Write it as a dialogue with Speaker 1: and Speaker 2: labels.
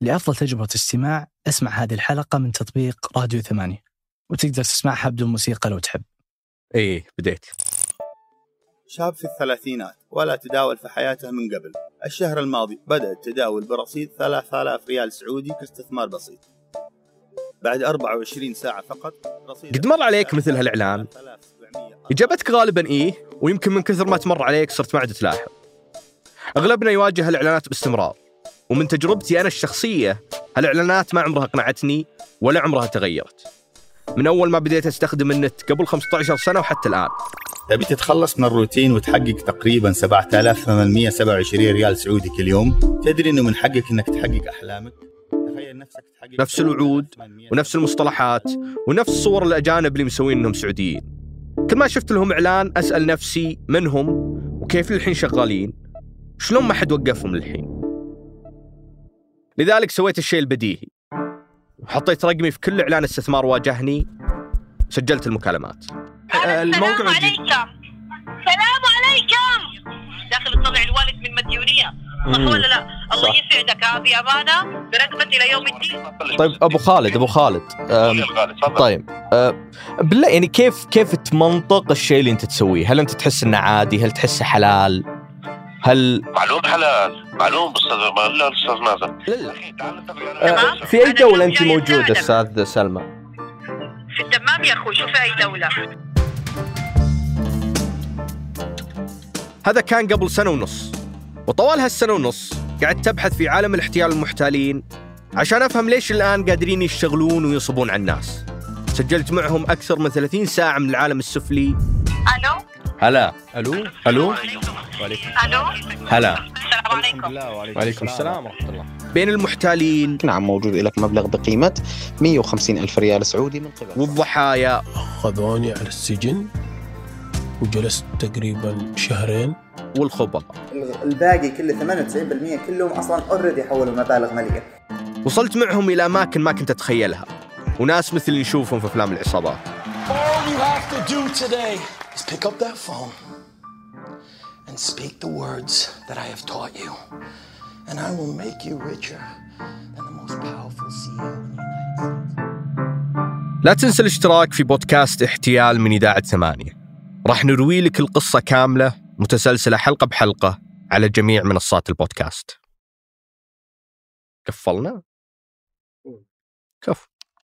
Speaker 1: لأفضل تجربة استماع اسمع هذه الحلقة من تطبيق راديو ثمانية وتقدر تسمعها بدون موسيقى لو تحب
Speaker 2: ايه بديت
Speaker 3: شاب في الثلاثينات ولا تداول في حياته من قبل الشهر الماضي بدأ التداول برصيد 3000 ريال سعودي كاستثمار بسيط بعد 24 ساعة فقط رصيد
Speaker 2: قد مر عليك مثل هالإعلان؟
Speaker 3: 3700
Speaker 2: إجابتك غالبا إيه ويمكن من كثر ما تمر عليك صرت ما عاد تلاحظ أغلبنا يواجه الإعلانات باستمرار ومن تجربتي أنا الشخصية الإعلانات ما عمرها أقنعتني ولا عمرها تغيرت من أول ما بديت أستخدم النت قبل 15 سنة وحتى الآن
Speaker 3: تبي تتخلص من الروتين وتحقق تقريبا 7827 ريال سعودي كل يوم تدري انه من حقك انك تحقق احلامك تخيل نفسك تحقق
Speaker 2: نفس الوعود ونفس المصطلحات ونفس صور الأجانب اللي مسوين أنهم سعوديين كل ما شفت لهم إعلان أسأل نفسي من هم وكيف للحين شغالين شلون ما حد وقفهم للحين لذلك سويت الشيء البديهي وحطيت رقمي في كل إعلان استثمار واجهني سجلت المكالمات آه،
Speaker 4: السلام عليكم سلام عليكم داخل تطلع الوالد من مديونيه صح ولا لا؟ الله
Speaker 2: صح.
Speaker 4: يسعدك آه، هذه امانه برقبه الى يوم الدين
Speaker 2: طيب ابو خالد ابو خالد أم، طيب أه، بالله يعني كيف كيف تمنطق الشيء اللي انت تسويه؟ هل انت تحس انه عادي؟ هل تحسه حلال؟ هل
Speaker 5: معلوم حلال معلوم استاذ ما لا استاذ مازن
Speaker 2: لا.
Speaker 5: اخي تعال نتفق على
Speaker 4: تمام.
Speaker 2: أه، في اي
Speaker 4: أنا
Speaker 2: دوله
Speaker 4: اليوم
Speaker 2: انت
Speaker 4: جاي
Speaker 2: موجوده
Speaker 4: أساعدك.
Speaker 2: استاذ سلمى؟
Speaker 4: في الدمام يا اخوي شوف اي دوله
Speaker 2: هذا كان قبل سنه ونص وطوال هالسنه ونص قعدت ابحث في عالم الاحتيال المحتالين عشان افهم ليش الان قادرين يشتغلون وينصبون على الناس. سجلت معهم اكثر من 30 ساعه من العالم السفلي
Speaker 4: الو
Speaker 2: هلا الو الو وعليكم
Speaker 4: الو
Speaker 2: هلا
Speaker 4: السلام عليكم
Speaker 2: وعليكم السلام ورحمه الله بين المحتالين
Speaker 6: نعم موجود لك مبلغ بقيمة 150 ألف ريال سعودي من قبل
Speaker 2: والضحايا
Speaker 7: خذوني على السجن وجلست تقريبا شهرين
Speaker 2: والخبراء
Speaker 8: الباقي كله 98% كلهم اصلا اوريدي حولوا مبالغ ماليه
Speaker 2: وصلت معهم إلى أماكن ما كنت أتخيلها وناس مثل اللي نشوفهم في أفلام العصابات
Speaker 9: All you have to do today is pick up that phone and speak the words that I have taught you. And I will make you richer than the most powerful CEO in the United States.
Speaker 2: لا تنسى الاشتراك في بودكاست احتيال من إذاعة ثمانية راح نروي لك القصة كاملة متسلسلة حلقة بحلقة على جميع منصات البودكاست قفلنا؟ كفو